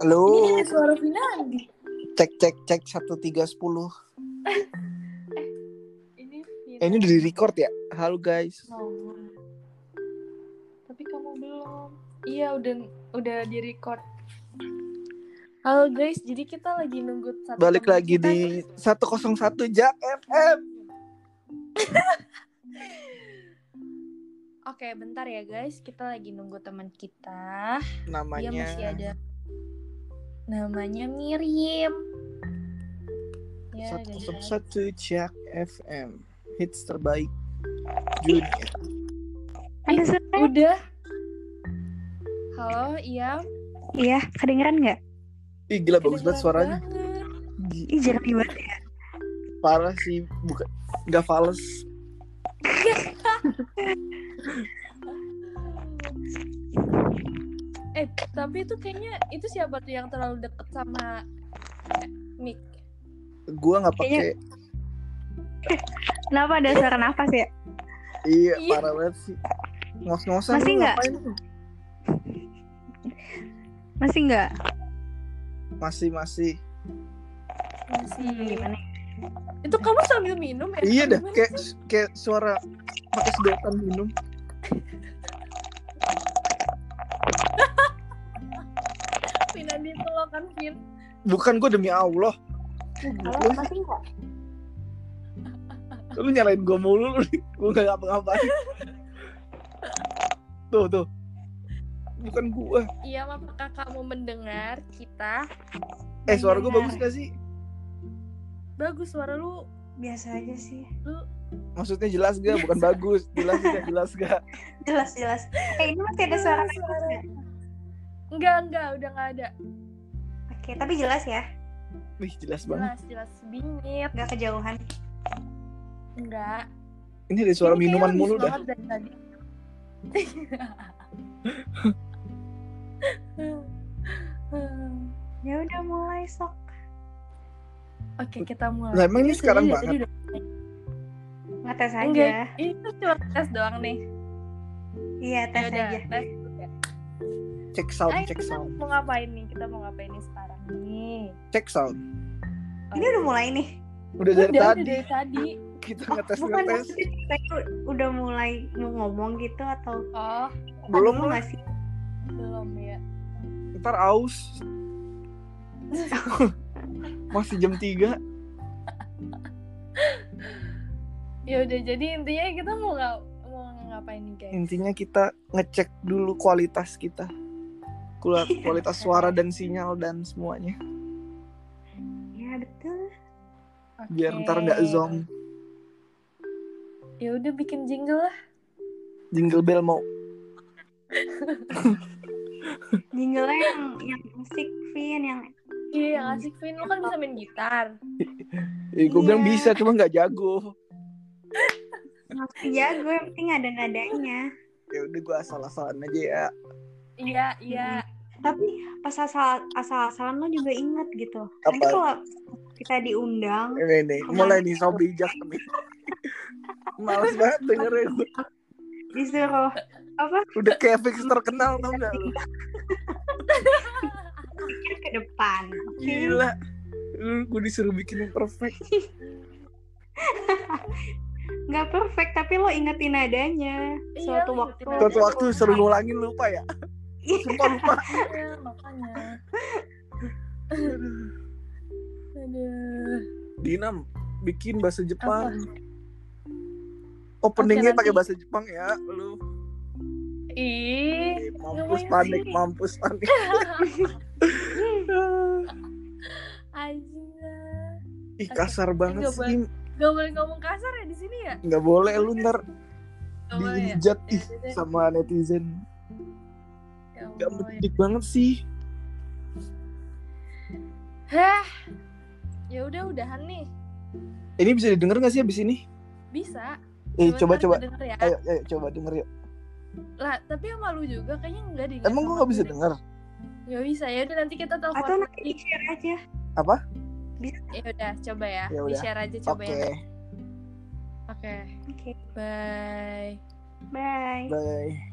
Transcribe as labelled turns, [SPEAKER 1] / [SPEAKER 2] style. [SPEAKER 1] Lu
[SPEAKER 2] Ini ada suara Vinandi.
[SPEAKER 1] cek cek cek satu tiga sepuluh.
[SPEAKER 2] Ini
[SPEAKER 1] Eh, ini
[SPEAKER 2] Vinandi
[SPEAKER 1] udah di record ya? Halo guys.
[SPEAKER 2] nomor. Tapi kamu belum. Iya, udah udah di record. Halo guys, jadi kita lagi nunggu satu
[SPEAKER 1] Balik
[SPEAKER 2] teman
[SPEAKER 1] lagi
[SPEAKER 2] kita.
[SPEAKER 1] di 101 Jak FM.
[SPEAKER 2] Oke, bentar ya guys. Kita lagi nunggu teman kita. Dia
[SPEAKER 1] Namanya
[SPEAKER 2] Iya, masih ada. Namanya Miriam. Ya, guys.
[SPEAKER 1] 101 Jak FM. Hits terbaik dunia.
[SPEAKER 3] Ada suara?
[SPEAKER 2] Udah. Halo, iya.
[SPEAKER 3] Iya, kedengeran nggak?
[SPEAKER 1] Ih gila bagus banget suaranya.
[SPEAKER 2] Kedengeran banget.
[SPEAKER 1] Gi-
[SPEAKER 3] Ih, jernih banget ya.
[SPEAKER 1] Parah sih, bukan nggak fals.
[SPEAKER 2] Eh, tapi itu kayaknya itu siapa tuh yang terlalu deket sama eh, mic?
[SPEAKER 1] Gua nggak pakai.
[SPEAKER 3] Kenapa ada suara nafas ya?
[SPEAKER 1] Iya,
[SPEAKER 2] Iya.
[SPEAKER 1] parah banget sih. Ngos-ngosan
[SPEAKER 3] Masih
[SPEAKER 1] lu
[SPEAKER 3] nggak?
[SPEAKER 1] ngapain?
[SPEAKER 3] Masih nggak?
[SPEAKER 1] Masih masih.
[SPEAKER 3] Hmm, gimana?
[SPEAKER 2] Itu kamu sambil minum ya?
[SPEAKER 1] Iya dah,
[SPEAKER 2] Gimana?
[SPEAKER 1] kayak kayak suara pakai sedotan minum.
[SPEAKER 2] Vinandi itu lo kan Vin.
[SPEAKER 1] Bukan gue demi Allah. Lu,
[SPEAKER 3] masih nggak?
[SPEAKER 1] lu nyalain gue mulu, lu. gue gak ngapa-ngapain. Tuh tuh, bukan gue.
[SPEAKER 2] Iya, apakah kamu mendengar kita?
[SPEAKER 1] Eh suara gue
[SPEAKER 3] Benar.
[SPEAKER 1] bagus gak sih?
[SPEAKER 2] Bagus suara lu.
[SPEAKER 3] Biasa aja sih.
[SPEAKER 1] Maksudnya jelas gak? Bukan bagus, jelas gak? Jelas gak?
[SPEAKER 3] Jelas, jelas. Eh, ini masih ada suara nafas nggak?
[SPEAKER 2] Enggak, enggak, udah nggak ada.
[SPEAKER 3] Oke, tapi jelas ya.
[SPEAKER 1] Wih jelas banget.
[SPEAKER 2] Jelas, jelas bingit.
[SPEAKER 3] Nggak kejauhan.
[SPEAKER 2] Enggak.
[SPEAKER 1] Ini ada suara
[SPEAKER 2] Ini kayaknya
[SPEAKER 1] minuman
[SPEAKER 2] habis
[SPEAKER 1] mulu dah.
[SPEAKER 2] banget dari tadi.
[SPEAKER 3] Ya udah mulai sok.
[SPEAKER 2] Oke, kita mulai.
[SPEAKER 1] Lah emang ini sekarang
[SPEAKER 2] Jadi
[SPEAKER 1] banget.
[SPEAKER 2] tadi udah-
[SPEAKER 3] Ngetes aja.
[SPEAKER 2] Enggak. Ini tuh cuma tes doang nih.
[SPEAKER 3] Iya, tes
[SPEAKER 2] Yaudah,
[SPEAKER 3] aja.
[SPEAKER 2] tes.
[SPEAKER 1] Cek sound,
[SPEAKER 2] Ayo,
[SPEAKER 1] cek
[SPEAKER 2] kita
[SPEAKER 1] sound,
[SPEAKER 2] mau ngapain nih? Kita mau ngapain nih sekarang nih?
[SPEAKER 1] cek sound.
[SPEAKER 3] Ini udah mulai nih.
[SPEAKER 1] Udah dari
[SPEAKER 2] udah,
[SPEAKER 1] tadi
[SPEAKER 2] dari tadi.
[SPEAKER 1] kita
[SPEAKER 3] Oh,
[SPEAKER 1] ngetes
[SPEAKER 3] bukan
[SPEAKER 1] ngetes.
[SPEAKER 3] maksudnya kita itu udah mulai mau ngomong gitu atau
[SPEAKER 2] Oh,
[SPEAKER 1] Belum
[SPEAKER 3] Aduh,
[SPEAKER 1] lah.
[SPEAKER 3] nggak sih?
[SPEAKER 2] belum ya.
[SPEAKER 1] Ntar aus. Masih jam 3
[SPEAKER 2] Ya udah, jadi intinya kita mau nggak mau ngapain nih guys?
[SPEAKER 1] Intinya kita ngecek dulu kualitas kita. Kula-
[SPEAKER 2] Iya.
[SPEAKER 1] Kualitas suara dan sinyal dan semuanya.
[SPEAKER 3] Ya betul.
[SPEAKER 2] Oke.
[SPEAKER 1] Biar ntar nggak zonk.
[SPEAKER 2] Ya udah bikin jingle lah.
[SPEAKER 1] Jingle bell mau
[SPEAKER 3] Jingle yang yang musik Vin yang
[SPEAKER 2] Iya, yang
[SPEAKER 1] Hmm.
[SPEAKER 2] asik Vin, lu kan bisa main gitar.
[SPEAKER 1] Eh, gue
[SPEAKER 3] Iya.
[SPEAKER 1] bilang bisa, cuma nggak jago.
[SPEAKER 3] Maksudnya jago yang penting ada nadanya.
[SPEAKER 1] Ya udah gue asal-asalan aja ya.
[SPEAKER 2] Iya, iya.
[SPEAKER 3] Tapi pas asal asal-asalan lo juga inget gitu. Nanti
[SPEAKER 1] Apa?
[SPEAKER 3] kalau kita diundang,
[SPEAKER 1] Ini Eh, nih, mulai nih sob bijak nih. Males banget dengerin.
[SPEAKER 3] disuruh apa?
[SPEAKER 1] Udah kayak fix terkenal tau gak lu?
[SPEAKER 3] Pikir ke depan. Oke.
[SPEAKER 1] Gila. Lu gue disuruh bikin yang perfect.
[SPEAKER 3] Nggak perfect tapi lo ingetin nadanya.
[SPEAKER 2] Iya,
[SPEAKER 3] Suatu
[SPEAKER 2] lo
[SPEAKER 3] waktu.
[SPEAKER 2] ingetin
[SPEAKER 1] Suatu waktu suruh ngulangin lupa ya. Sumpah lupa.
[SPEAKER 2] Iya, makanya. Aduh.
[SPEAKER 1] Dinam, bikin bahasa
[SPEAKER 2] Apa?
[SPEAKER 1] Jepang. Openingnya
[SPEAKER 2] Oke,
[SPEAKER 1] pakai
[SPEAKER 2] nanti.
[SPEAKER 1] bahasa Jepang ya, lu.
[SPEAKER 2] Ih,
[SPEAKER 1] Eh, Mampus
[SPEAKER 2] ngapain
[SPEAKER 1] panik,
[SPEAKER 2] sih?
[SPEAKER 1] mampus panik.
[SPEAKER 2] anjir.
[SPEAKER 1] Ih kasar banget
[SPEAKER 2] Nggak
[SPEAKER 1] sih.
[SPEAKER 2] Gak boleh ngomong kasar ya di sini ya?
[SPEAKER 1] Nggak boleh lu ntar
[SPEAKER 2] Gak
[SPEAKER 1] Iya.
[SPEAKER 2] boleh ya?
[SPEAKER 1] dihujat
[SPEAKER 2] Ya,
[SPEAKER 1] ih
[SPEAKER 2] udah deh.
[SPEAKER 1] sama netizen. Gak
[SPEAKER 2] Ya Allah, ya.
[SPEAKER 1] mendidik banget sih.
[SPEAKER 2] Hah. Ya udah udahan nih.
[SPEAKER 1] Ini bisa didengar gak sih abis ini?
[SPEAKER 2] Bisa.
[SPEAKER 1] Eh
[SPEAKER 2] Sebentar
[SPEAKER 1] coba coba.
[SPEAKER 2] gua denger ya.
[SPEAKER 1] Ayo ayo coba denger yuk.
[SPEAKER 2] Lah, tapi sama lu juga kayaknya enggak Iya, deh.
[SPEAKER 1] Emang gua gak bisa denger?
[SPEAKER 2] Gak bisa. Ya udah nanti kita telepon.
[SPEAKER 3] Atau nanti di share aja.
[SPEAKER 2] Ya udah, coba ya.
[SPEAKER 1] Ya
[SPEAKER 2] Di
[SPEAKER 1] udah.
[SPEAKER 2] share aja coba
[SPEAKER 1] Oke,
[SPEAKER 2] ya. Oke.
[SPEAKER 3] Oke.
[SPEAKER 2] Bye.
[SPEAKER 3] Bye.
[SPEAKER 1] bye.